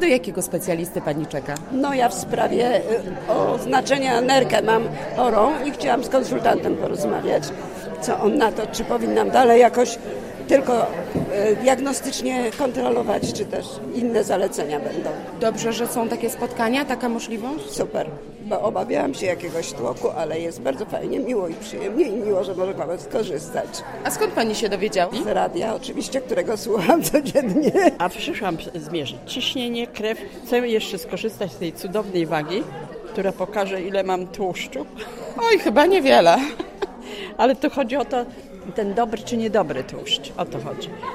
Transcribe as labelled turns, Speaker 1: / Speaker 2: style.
Speaker 1: do jakiego specjalisty pani czeka?
Speaker 2: No ja w sprawie y, oznaczenia nerkę mam chorą i chciałam z konsultantem porozmawiać, co on na to, czy powinnam dalej jakoś tylko y, diagnostycznie kontrolować, czy też inne zalecenia będą.
Speaker 1: Dobrze, że są takie spotkania, taka możliwość?
Speaker 2: Super, bo obawiałam się jakiegoś tłoku, ale jest bardzo fajnie, miło i przyjemnie i miło, że może Pan skorzystać
Speaker 1: A skąd pani się dowiedziała?
Speaker 2: z radia, oczywiście, którego słucham codziennie.
Speaker 3: A przyszłam zmierzyć ciśnienie, krew. Chcę jeszcze skorzystać z tej cudownej wagi, która pokaże, ile mam tłuszczu.
Speaker 1: Oj, chyba niewiele.
Speaker 3: Ale tu chodzi o to, ten dobry czy niedobry tłuszcz. O to chodzi.